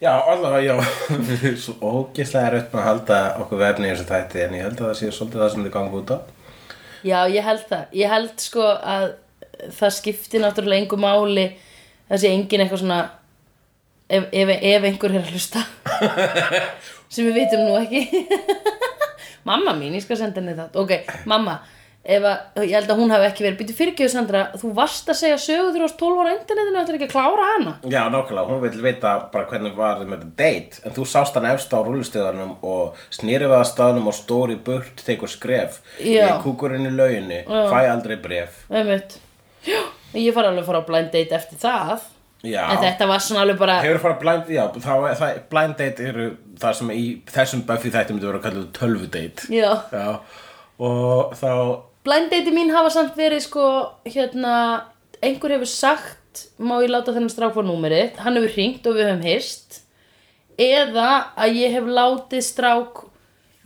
Speaker 2: Já, allavega, já, við erum svo ógeðslega erfitt með að halda okkur verðni í þessu þætti en ég held að það sé svolítið það sem þið ganga út á.
Speaker 1: Já, ég held það Ég held sko að það skipti náttúrulega engu máli Það sé engin eitthvað svona ef, ef, ef einhver er að hlusta sem við vitum nú ekki Mamma mín, ég skal senda henni það Ok, mamma ef að, Ég held að hún hafi ekki verið Býtu fyrirgjöðu Sandra, þú varst að segja sögu þegar þú varst 12 ára á internetinu Þetta er ekki að klára hana
Speaker 2: Já, nákvæmlega, hún vil vita bara hvernig var þið með þetta date en þú sást hann efst á rúlustöðanum og snýrifaðastöðanum og stóri burt tekur skref
Speaker 1: Já.
Speaker 2: í kúkurinn í lauginu, fæ aldrei bref.
Speaker 1: Einmitt. Já, ég fara alveg að fara á blind date eftir það.
Speaker 2: Já.
Speaker 1: En þetta var svona alveg bara,
Speaker 2: Hefur farið blind, já, þá, er- það, blind date eru það sem í þessum Buffy þættum myndi vera að kalla tölvudate.
Speaker 1: já,
Speaker 2: Já, og þá
Speaker 1: blind date mín hafa samt verið sko, hérna, einhver hefur sagt, má ég láta þennan strák fá númerið, hann hefur hringt og við höfum hist, eða að ég hef látið strák,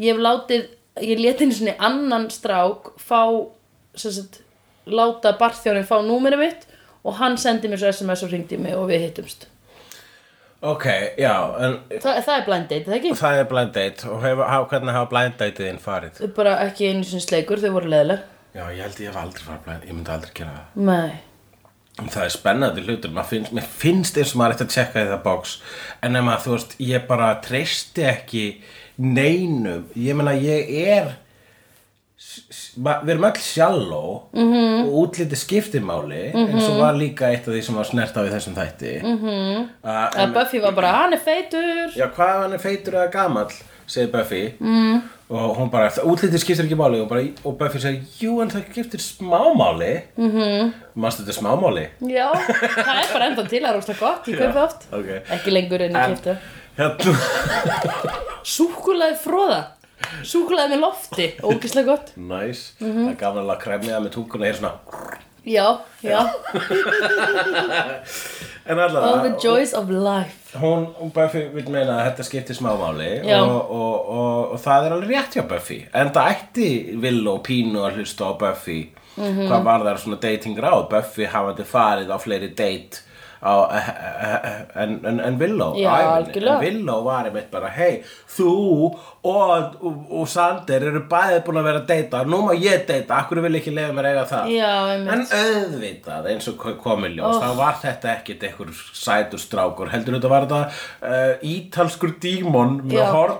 Speaker 1: ég hef látið, ég leti einu svona annan strák fá, sem sagt, láta barþjónin fá númerið mitt og hann sendi mér svo SMS og hringdi í mig og við hittumst.
Speaker 2: Ok, já, en
Speaker 1: Þa, það er blind date, er það ekki?
Speaker 2: það er blind date og hef, haf, hvernig hafa blind dateið þinn farið?
Speaker 1: bara ekki einu sinni sleikur, þau voru leðileg
Speaker 2: Já, ég held ég hef aldrei farið blind, ég myndi aldrei gera það.
Speaker 1: Nei
Speaker 2: En Það er spennandi hlutur, maður finnst, mér finnst eins og maður eftir að tjekka í það box en ef maður, þú veist, ég bara treysti ekki neinum, ég meina ég er, s- s- ma- við erum öll sjáló -hmm. og útliti skiptimáli eins og var líka eitt af því sem var snert á í þessum þætti. Mm -hmm.
Speaker 1: að Buffy var bara, hann er feitur
Speaker 2: já, hvað ef hann er feitur eða gamall segir Buffy mm. og hún bara, útlitið skiptir ekki máli og, bara, og Buffy segir, jú en það skiptir smámáli mm -hmm. manstu þetta er smámáli
Speaker 1: Já, það er bara ennþá til að rústa gott, ég kaupi oft
Speaker 2: ok.
Speaker 1: Ekki lengur enn ég kipta
Speaker 2: hérna,
Speaker 1: Súkulaði fróða Súkulaði með lofti, ógislega gott
Speaker 2: næs
Speaker 1: Mhm.
Speaker 2: það er gaman alveg að kremja það með túkuna hér svona
Speaker 1: Já, já,
Speaker 2: en allavega
Speaker 1: all the joys of life
Speaker 2: hún, hún Buffy vil meina að þetta skiptir smámáli
Speaker 1: Já.
Speaker 2: og, og, og, og það er alveg rétt hjá Buffy en það ætti Will og Pínu að hlusta á Buffy
Speaker 1: Mhm.
Speaker 2: hvað var það svona dating ráð Buffy hafandi farið á fleiri date á, eh, en, en, en Willow á
Speaker 1: Já,
Speaker 2: ævinni.
Speaker 1: algjörlega.
Speaker 2: en Willow var einmitt bara hei, þú og, og, og Sander eru bæðið búin að vera að deita nú má ég deita, akkur vil ekki leiða mér að eiga það
Speaker 1: Já, einmitt.
Speaker 2: en auðvitað eins og komið ljós, þá var þetta ekkit einhver sætur strákur, heldur þetta var þetta uh, ítalskur dímon með
Speaker 1: Já.
Speaker 2: horn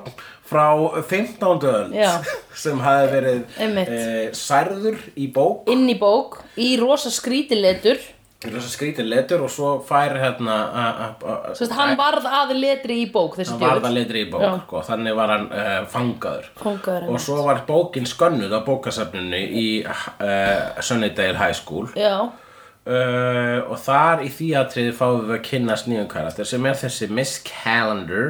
Speaker 2: frá 15. öld
Speaker 1: Já.
Speaker 2: sem hafi verið
Speaker 1: Einmitt.
Speaker 2: uh, særður í bók
Speaker 1: Inn í bók, í rosa skrítiletur
Speaker 2: þess að skrítið letur og svo fær hérna a- a- a-
Speaker 1: Svo veist, hann varð að letri í bók, þessi
Speaker 2: hann varða
Speaker 1: djöfull
Speaker 2: litri í bók
Speaker 1: Já.
Speaker 2: sko, þannig var hann uh, fangaður
Speaker 1: Fangaður,
Speaker 2: og svo var bókin skönnuð á bókasafninu í uh, Sunnydale High School
Speaker 1: Já,
Speaker 2: Uh, og þar í því atriði fáum við að kynnast nýjum karakter sem er þessi Miss Calendar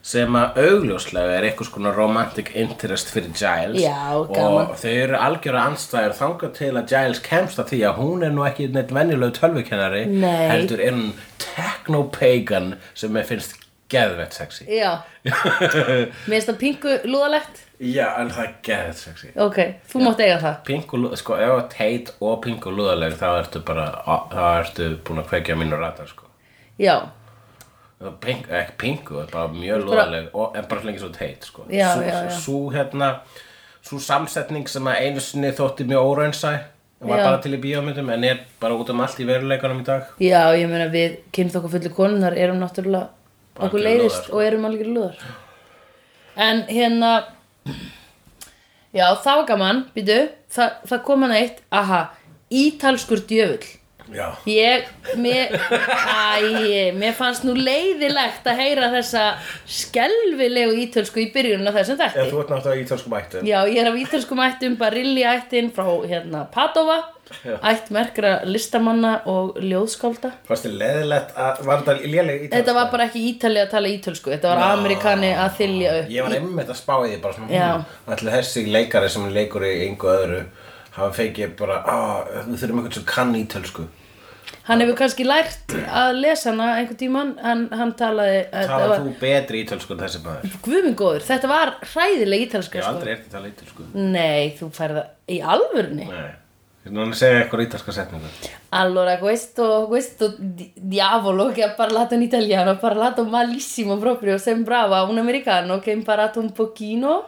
Speaker 2: sem að augljóslega er einhvers konar romantic interest fyrir Giles
Speaker 1: Já,
Speaker 2: og
Speaker 1: gaman.
Speaker 2: þau eru algjöra anstæður þangað til að Giles kemst að því að hún er nú ekki neitt venjulegu tölvukennari
Speaker 1: Nei.
Speaker 2: heldur er hún technopagan sem mér finnst geðvett sexy
Speaker 1: já Mér finnst það pingu lúðalegt
Speaker 2: Já, en það er geðvett sexy
Speaker 1: Ok, þú mátt eiga það
Speaker 2: Pingu, sko, ef að teit og pingu lúðaleg þá ertu bara, þá ertu búin að kveikja mínu ratar, sko
Speaker 1: Já,
Speaker 2: Það er Pink, ekki pingu, það er bara mjög
Speaker 1: bara-
Speaker 2: loðaleg og en bara lengi svo teit sko.
Speaker 1: Já,
Speaker 2: sú,
Speaker 1: já, já.
Speaker 2: Sú, hérna, sú samsetning sem að einu sinni þótti mjög óraunsæ var
Speaker 1: Já.
Speaker 2: bara til í bíómyndum en er bara út um allt í veruleikanum í dag
Speaker 1: Já, ég meina við kynþokkafullu konunar erum náttúrulega okkur
Speaker 2: Algjörir
Speaker 1: leiðist
Speaker 2: lúðar, sko.
Speaker 1: og erum algjör lúðar En hérna Já, það var gaman, býtu það, það kom hann eitt, aha Ítalskur djöfull
Speaker 2: Já
Speaker 1: Ég, mér, æ, mér fannst nú leiðilegt að heyra þessa skelfilegu ítölsku í byrjunum af þessum þætti
Speaker 2: Ef þú ert náttúrulega í ítalsku mættu
Speaker 1: Já, ég er af ítalskum ættum, Barilli ættin frá hérna Padova
Speaker 2: Já.
Speaker 1: Ætt merkra listamanna og ljóðskálda
Speaker 2: Fannst þið leðilegt að, var þetta léleg ítalsku?
Speaker 1: Þetta var bara ekki Ítali að tala ítölsku, þetta var Amerikani að þylja upp.
Speaker 2: Ég var einmitt að spá í því bara svona
Speaker 1: Já.
Speaker 2: hmm, Ætli þessi leikari sem leikur í engu öðru hafa fengið bara, að við þurfum einhvern sem kann ítalsku
Speaker 1: Hann hefur kannski lært að lesa hana einhvern tímann, hann, hann talaði, eh, þetta
Speaker 2: Talar
Speaker 1: var,
Speaker 2: þú betri ítalsku en þessi maður?
Speaker 1: guðmingóður, þetta var hræðileg
Speaker 2: Ég
Speaker 1: ítalska
Speaker 2: hef
Speaker 1: sko.
Speaker 2: aldrei eftir að tala ítalsku
Speaker 1: Nei, þú færða í alvörni.
Speaker 2: Nei Þannig að segja eitthvað ítalska setningu.
Speaker 1: Allora, questo, questo di- diavolo che ha parlato in italiano ha parlato malissimo proprio, sembrava un americano che ha imparato un pochino.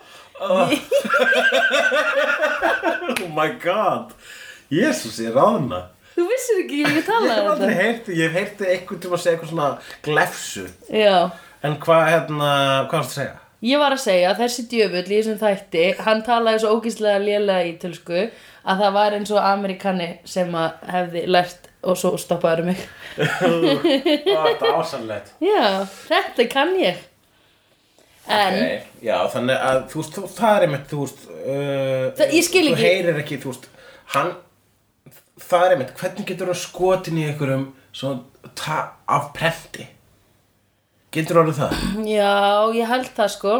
Speaker 2: Oh my god! Jésús, ég ráðna.
Speaker 1: Þú vissir ekki ég
Speaker 2: Ég hef
Speaker 1: tala um
Speaker 2: aldrei
Speaker 1: þetta?
Speaker 2: heyrti, ég hef heyrti einhvern tíma að segja eitthvað svona glefsu.
Speaker 1: Já,
Speaker 2: En hvað, hérna, hvað varstu að segja?
Speaker 1: ég var að segja að þessi djöfull í þessum þætti, hann talaði svo ógíslega lélega í tölsku að það var eins og amerikani sem að hefði lært og svo stoppaður mig.
Speaker 2: Ó, Þetta er ásanlegt.
Speaker 1: Já, þetta kann ég. En...
Speaker 2: Nei, já, þannig að þú veist, þú- það er einmitt, þú veist, uh,
Speaker 1: Það- ég skil
Speaker 2: Þú
Speaker 1: ekki.
Speaker 2: heyrir ekki, þú veist, hann, það er einmitt, hvernig getur þú skotin í einhverjum svona ta, af prenti? Getur þú orðið það?
Speaker 1: Já, ég held það sko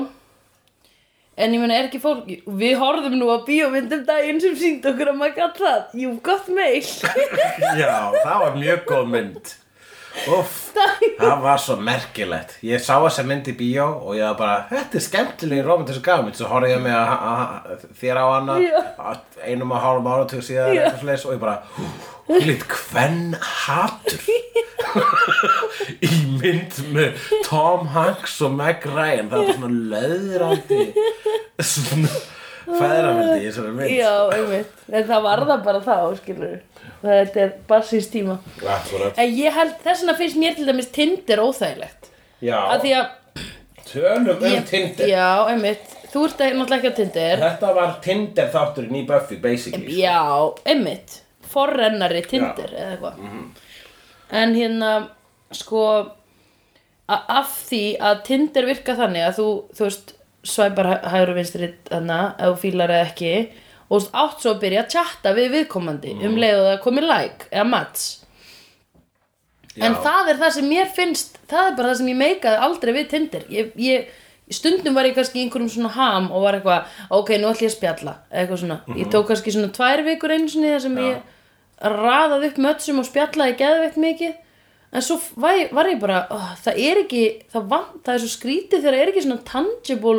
Speaker 1: En ég meina, er ekki fólk Við horfðum nú á bíómyndum daginn sem sínd okkur að maður gætt það Jú, gott meil
Speaker 2: já, það var mjög góð mynd. Uff, það var svo merkilegt. Ég sá þessa mynd í bíó og ég var bara, þetta er skemmtileg romantisk gafmynd. Svo horfði ég með að, að, að, þér á hana
Speaker 1: Já.
Speaker 2: að- einum og hálfum áratug síðan
Speaker 1: Já.
Speaker 2: eitthvað slags og ég bara, hlut, hvenn hatur í mynd með Tom Hanks og Meg Ryan. Það var svona löðrandi, svona feðraveldi í þessari mynd.
Speaker 1: Já, einmitt En það var það bara þá, skilur Þetta er bara síns tíma
Speaker 2: Akkúrat.
Speaker 1: En ég held, þess vegna finnst mér til dæmis Tinder óþægilegt Af því
Speaker 2: Já,
Speaker 1: að
Speaker 2: tölum um
Speaker 1: ég,
Speaker 2: Tinder.
Speaker 1: Já, einmitt Þú ert náttúrulega ekki á Tinder
Speaker 2: Þetta var Tinder þátturinn í Buffy, basically.
Speaker 1: Já, einmitt Forrennari Tinder eða eitthvað
Speaker 2: Mhm.
Speaker 1: En hérna, sko a- Af því að Tinder virka þannig að þú, þú veist Svæpar hægur og vinstri þarna Ef þú fílar eða ekki Og þú veist, átt svo að byrja að chatta við viðkomandi Um leið og það komi like eða match En það er það sem mér finnst, það er bara það sem ég meikaði aldrei við Tinder. Ég, ég, stundum var ég kannski í einhverjum svona ham og var eitthvað, ok, nú ætlum ég að spjalla, eða eitthvað svona. Ég tók kannski svona tvær vikur einu sinni þar sem ég raðaði upp mötsum og spjallaði geðveitt mikið. En svo var ég, var ég bara, oh, það er ekki, það, vant, það er svo skrítið þegar það er ekki svona tangible,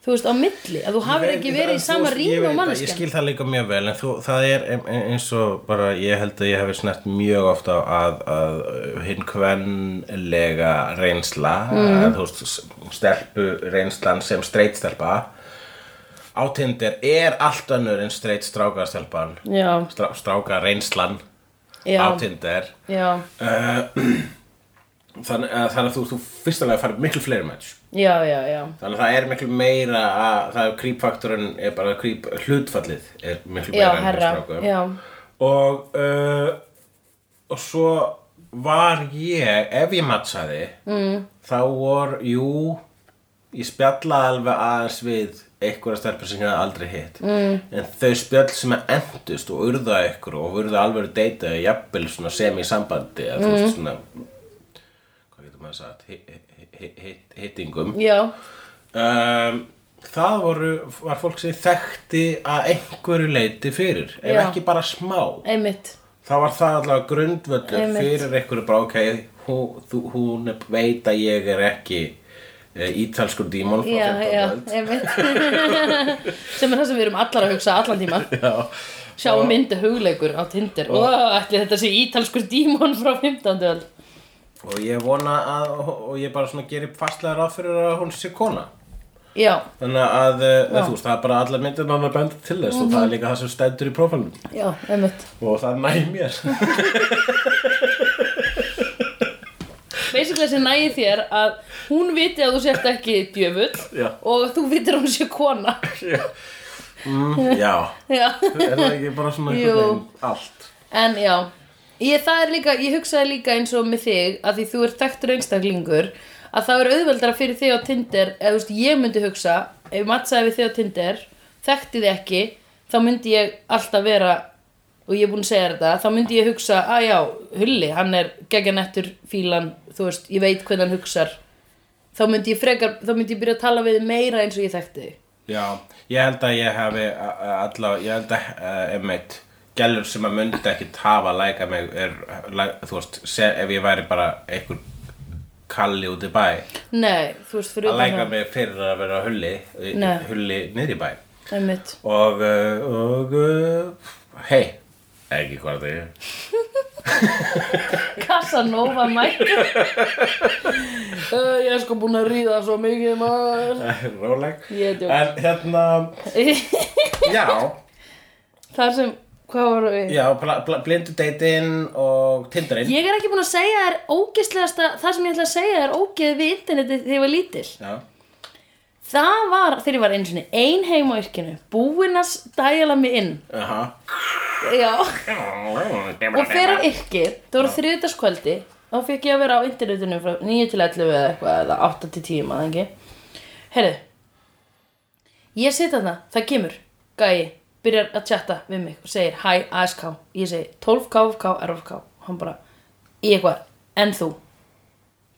Speaker 1: þú veist, á milli. Að þú
Speaker 2: Ég
Speaker 1: hafir
Speaker 2: veit
Speaker 1: ekki
Speaker 2: það,
Speaker 1: verið í
Speaker 2: en þú
Speaker 1: sama
Speaker 2: veist, ég
Speaker 1: rými
Speaker 2: veit
Speaker 1: og
Speaker 2: það, Ég
Speaker 1: manneskjan.
Speaker 2: skil það líka mjög vel, en þú, það er em- em- eins og bara, ég held að ég hefði snert mjög ofta að, að uh, hinn kvenlega reynsla,
Speaker 1: Mhm.
Speaker 2: mm. þú veist, s- stelpu reynslan sem straight stelpa á Tinder er allt önnur en straight stráka stelpan,
Speaker 1: Já,
Speaker 2: strá, stráka reynslan
Speaker 1: já,
Speaker 2: á Tinder.
Speaker 1: já,
Speaker 2: Þannig, að- þannig að þú, þú fyrst alveg að fara miklu fleiri match.
Speaker 1: já, já, já.
Speaker 2: Þannig að það er miklu meira að það er creep-faktorinn, er bara creep hlutfallið er miklu meira
Speaker 1: Já,
Speaker 2: enn hjá
Speaker 1: herra,
Speaker 2: strákum.
Speaker 1: já.
Speaker 2: Og, uh, og svo var ég, ef ég matchaði, mm. þá vor, jú, ég spjallaði alveg aðeins við einhverja stelpur sem ég hafði aldrei hitt. Mm. En þau spjall sem endust og urða ykkur og urða alveg deyta jafnvel svona sem í sambandi, að þú
Speaker 1: Mm.
Speaker 2: veist svona, hvað getur maður sagt, hi- hi- hi- hi- hittingum
Speaker 1: Já,
Speaker 2: um, það voru, var fólk sem ég þekkti að einhverju leiti fyrir ef
Speaker 1: Já.
Speaker 2: ekki bara smá
Speaker 1: einmitt.
Speaker 2: þá var það allavega grundvöllur
Speaker 1: Einmitt.
Speaker 2: fyrir einhverju bara ok hún, þú, hún veit að ég er ekki e, ítalskur dímon frá
Speaker 1: Já,
Speaker 2: 15.
Speaker 1: já,
Speaker 2: öld.
Speaker 1: einmitt sem er það sem við erum allar að hugsa allan tíman
Speaker 2: já.
Speaker 1: sjáum myndu hugleikur á Tinder og ætli þetta sé ítalskur dímon frá 15. öld
Speaker 2: og ég vona að og ég bara svona gerir fastlega ráð fyrir að hún sé kona
Speaker 1: já,
Speaker 2: þannig að, að þú veist, það er bara allar myndir hann að benda til þess og það
Speaker 1: Mhm.
Speaker 2: er líka það sem stendur í prófælum
Speaker 1: já, einmitt
Speaker 2: og það næg mér
Speaker 1: basically sem nægir þér að hún viti að þú sért ekki djöfull
Speaker 2: Já.
Speaker 1: og þú vitir að hún sé kona
Speaker 2: já,
Speaker 1: já,
Speaker 2: er það ekki bara svona
Speaker 1: Jú.
Speaker 2: einhvern veginn allt
Speaker 1: en já ég, það er líka, ég hugsaði líka eins og með þig að því þú ert þekktur einstaklingur að það er auðveldara fyrir þig á Tinder eða þú veist, ég myndi hugsa ef ég mattsaði við þig á Tinder þekkti þig ekki, þá myndi ég alltaf vera og ég er búin að segja þér þetta þá myndi ég hugsa, að já, Hulli hann er gegganettur fílan þú veist, ég veit hvernig hann hugsar þá myndi ég frekar, þá myndi ég byrja að tala við þig meira eins og ég þekkti þig
Speaker 2: já, ég held að ég hafi allavega, ég held að uh, einmitt, gælur sem að myndi ekki hafa læka mig er, læ- þú veist, se, ef ég væri bara einhver kalli út í bæ
Speaker 1: nei, þú veist, fyrir
Speaker 2: að læka
Speaker 1: það
Speaker 2: mig fyrir að vera hulli
Speaker 1: Nei.
Speaker 2: hulli niður í bæ
Speaker 1: einmitt,
Speaker 2: og, uh, og uh, hei, ekki hvað það er
Speaker 1: Casanova mættur uh, Ég er sko búin að ríða svo mikið maður
Speaker 2: Róleg
Speaker 1: Ég er djók.
Speaker 2: En hérna, já
Speaker 1: Þar sem, hvað voru við?
Speaker 2: Já, bla- bla- blindu deitinn og tindarinn
Speaker 1: Ég er ekki búin að segja þér ógeðslegasta Það sem ég ætla að segja þér ógeð við interneti þegar ég var lítil
Speaker 2: Já,
Speaker 1: Það var, þegar ég var einu sinni ein heim á yrkinu Búin að stæla mig inn
Speaker 2: aha
Speaker 1: Já
Speaker 2: Og
Speaker 1: Og fyrir yrkið, það voru þriðutaskvöldi Þá fekk ég að vera á internetinu frá 9 til 11 eða eitthvað Eða 8 til 10 maður ekki Herðu Ég sit þarna, það kemur Gæi, byrjar að chatta við mig Og segir hæ ASK Ég segi 12K, FK, RFK Hann bara, í eitthvað, en þú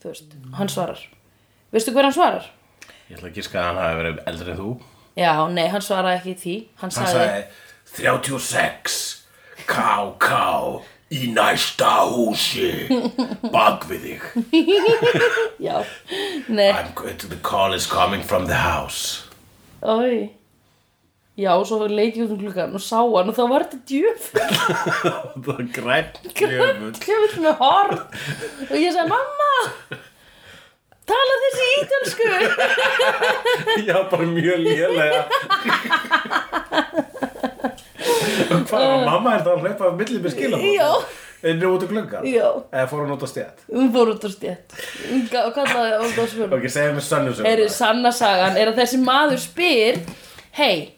Speaker 1: Þú veist, hann svarar Veistu hver hann svarar?
Speaker 2: Ég ætla að gíska að hann hafi verið eldri en þú
Speaker 1: Já, nei, hann svaraði ekki því Hann
Speaker 2: Hann
Speaker 1: sagði,
Speaker 2: sagði 36 KK í næsta húsi bak við þig
Speaker 1: já Nei
Speaker 2: I'm going to the call is coming from the house
Speaker 1: Æ. Já, og svo leit ég út um klukkan og sá hann og þá var þetta djöfull
Speaker 2: Það er grænt jöfull.
Speaker 1: djöfull með horn og ég sagði, mamma tala þessi ítölsku
Speaker 2: Já, bara mjög lélega Og Hvað var mamma er það að hlaupa af millið með skilabóð?
Speaker 1: Já.
Speaker 2: Einu út og glugga?
Speaker 1: Já.
Speaker 2: Eða fór hún út á stjætt?
Speaker 1: hún fór út úr stjætt Hún ga- og kallaði á það svörum
Speaker 2: Ok, segja mér sannu sem
Speaker 1: er sanna sagan, er að þessi maður spyr hei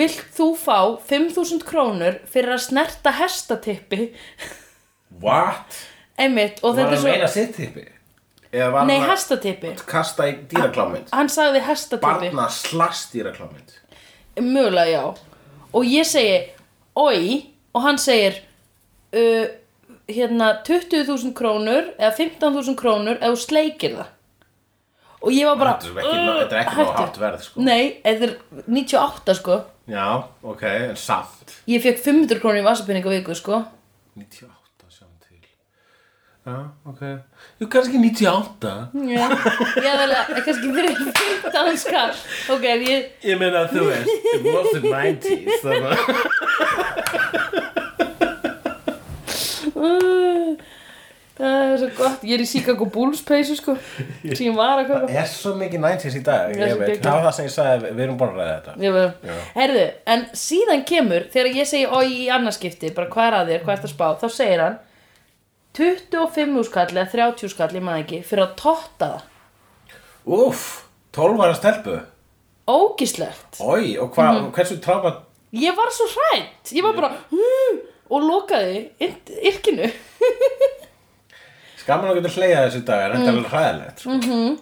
Speaker 1: vilt þú fá 5000 krónur fyrir að snerta hestatippi
Speaker 2: What?
Speaker 1: einmitt og
Speaker 2: Var
Speaker 1: þetta
Speaker 2: hann
Speaker 1: er
Speaker 2: meina
Speaker 1: svo
Speaker 2: sitt tippi? Eða var
Speaker 1: nei,
Speaker 2: hann að
Speaker 1: hestatippi
Speaker 2: kasta í dýraklámynd?
Speaker 1: hann sagði hestatippi
Speaker 2: Barna slast dýraklámynd
Speaker 1: Mögulega já Og ég segi Oi Og hann segir uh, Hérna 20.000 krónur Eða 15.000 krónur Ef þú sleikir það Og ég var bara
Speaker 2: Þetta er ekki,
Speaker 1: "Ugh,
Speaker 2: þetta er ekki nóg
Speaker 1: hættu."
Speaker 2: hátt verð sko
Speaker 1: Nei, þetta er 98 sko
Speaker 2: Já, ok, en samt
Speaker 1: Ég fekk 500 krónur í vasapinninga viku sko
Speaker 2: 98 sjáum til Já, ok Jú, kannski 98
Speaker 1: Já Ég hefði alveg kannski fyrir 15 skall Ok, en ég
Speaker 2: Ég meina að þú veist, it was the 90s Þannig að
Speaker 1: uh, Það er svo gott Ég er í Chicago Bulls peysu sko Sem ég var að köpa
Speaker 2: Það er svo mikið 90s í
Speaker 1: Það
Speaker 2: dag,
Speaker 1: er
Speaker 2: ég
Speaker 1: svo
Speaker 2: veit
Speaker 1: geggjað.
Speaker 2: Það var það sem ég sagði, við- við erum bara að ræða þetta
Speaker 1: Ég bara, herðu, en síðan kemur þegar ég segi oi í annarskipti bara hvað er að þér, hvað er að spá, þá segir hann 25 skall eða 30 skall, ég maður ekki, fyrir að totta það
Speaker 2: Úff, 12 ára stelpu
Speaker 1: ógislegt,
Speaker 2: Oi, og hva,
Speaker 1: Mhm.
Speaker 2: hversu tráma
Speaker 1: ég var svo hrætt ég var bara "Hmm", og lokaði yrk- yrkinu
Speaker 2: Skaman að geta hleyja þessu dag, er
Speaker 1: Mhm.
Speaker 2: þetta alveg hræðilegt sko.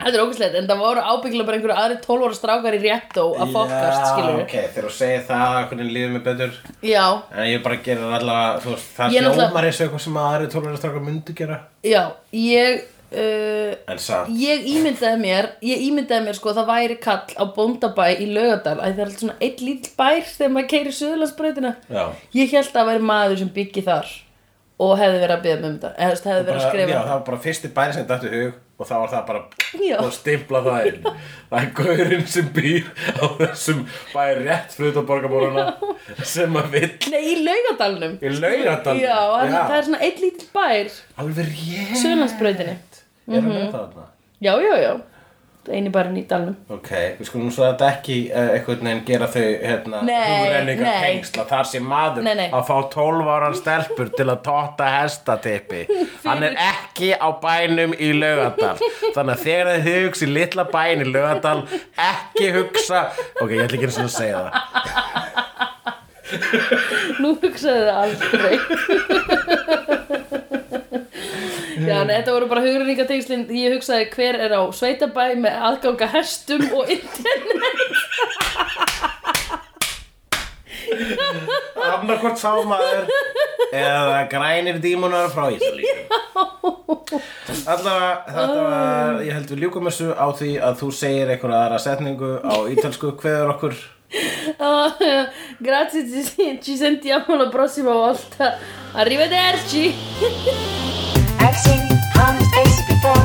Speaker 1: þetta er ógislegt, en það voru ábyggilega bara einhverju aðri 12 ára strákar í réttó að fokast,
Speaker 2: Já,
Speaker 1: skilur
Speaker 2: ok, þegar þú segir það, hvernig líður mér betur
Speaker 1: já,
Speaker 2: En ég bara gerir það allavega, þú veist, það
Speaker 1: Ég
Speaker 2: hljómar
Speaker 1: náttúrulega-
Speaker 2: eins og eitthvað sem aðri tólverðarstrákar myndu gera
Speaker 1: já, ég uh,
Speaker 2: En samt,
Speaker 1: Ég ímyndaði mér, ég ímyndaði mér sko að það væri kall á bóndabæ í Laugadal að það er alltaf svona eitt lítill bær þegar maður keyrir Suðurlandsbrautina
Speaker 2: já
Speaker 1: Ég held að það væri maður sem byggi þar og hefði verið að byggja með um þetta eða þú veist, hefði verið að
Speaker 2: bara, Já,
Speaker 1: skrifa um
Speaker 2: það var bara fyrsti bæri sem dættu hug og þá var það
Speaker 1: Já.
Speaker 2: bara og stimpla það inn Það er gaurinn sem býr á þessum bæri rétt flut á borgarmóruna sem að vill
Speaker 1: Nei, í Laugadalnum
Speaker 2: í laugadal
Speaker 1: Já, en það er svona eitt lítill bær
Speaker 2: Alveg rétt
Speaker 1: Suðurlandsbrautinni
Speaker 2: Er hann
Speaker 1: Mhm.
Speaker 2: með það þarna?
Speaker 1: Já, já, já, það er eini bærin í dalnum
Speaker 2: Ok, við skulum svo að þetta ekki uh, einhvern veginn gera þau hérna,
Speaker 1: Nei,
Speaker 2: hugrenningar
Speaker 1: nei.
Speaker 2: tengsla þar sem maður
Speaker 1: Nei, nei.
Speaker 2: að fá 12 ára stelpur til að totta hestatippi hann er ekki á bænum í Laugardal þannig að þegar þið hugsi litla bæn í Laugardal ekki hugsa ok, ég ætla ekki eins og að segja það
Speaker 1: Nú hugsaði það aldrei Já, nei, þetta voru bara hugrenningatengslin Ég hugsaði hver er á sveitabæ með aðganga hestum og internet
Speaker 2: annarkvort sá maður eða grænir dímunar frá Ísalíu allavega þetta var ég held við ljúkum þessu á því að þú segir einhverja aðra setningu á ítalsku hverður okkur
Speaker 1: Ah, Grazie, ci, ci sentiamo la prossima volta Arrivederci
Speaker 3: I've seen honest faces before.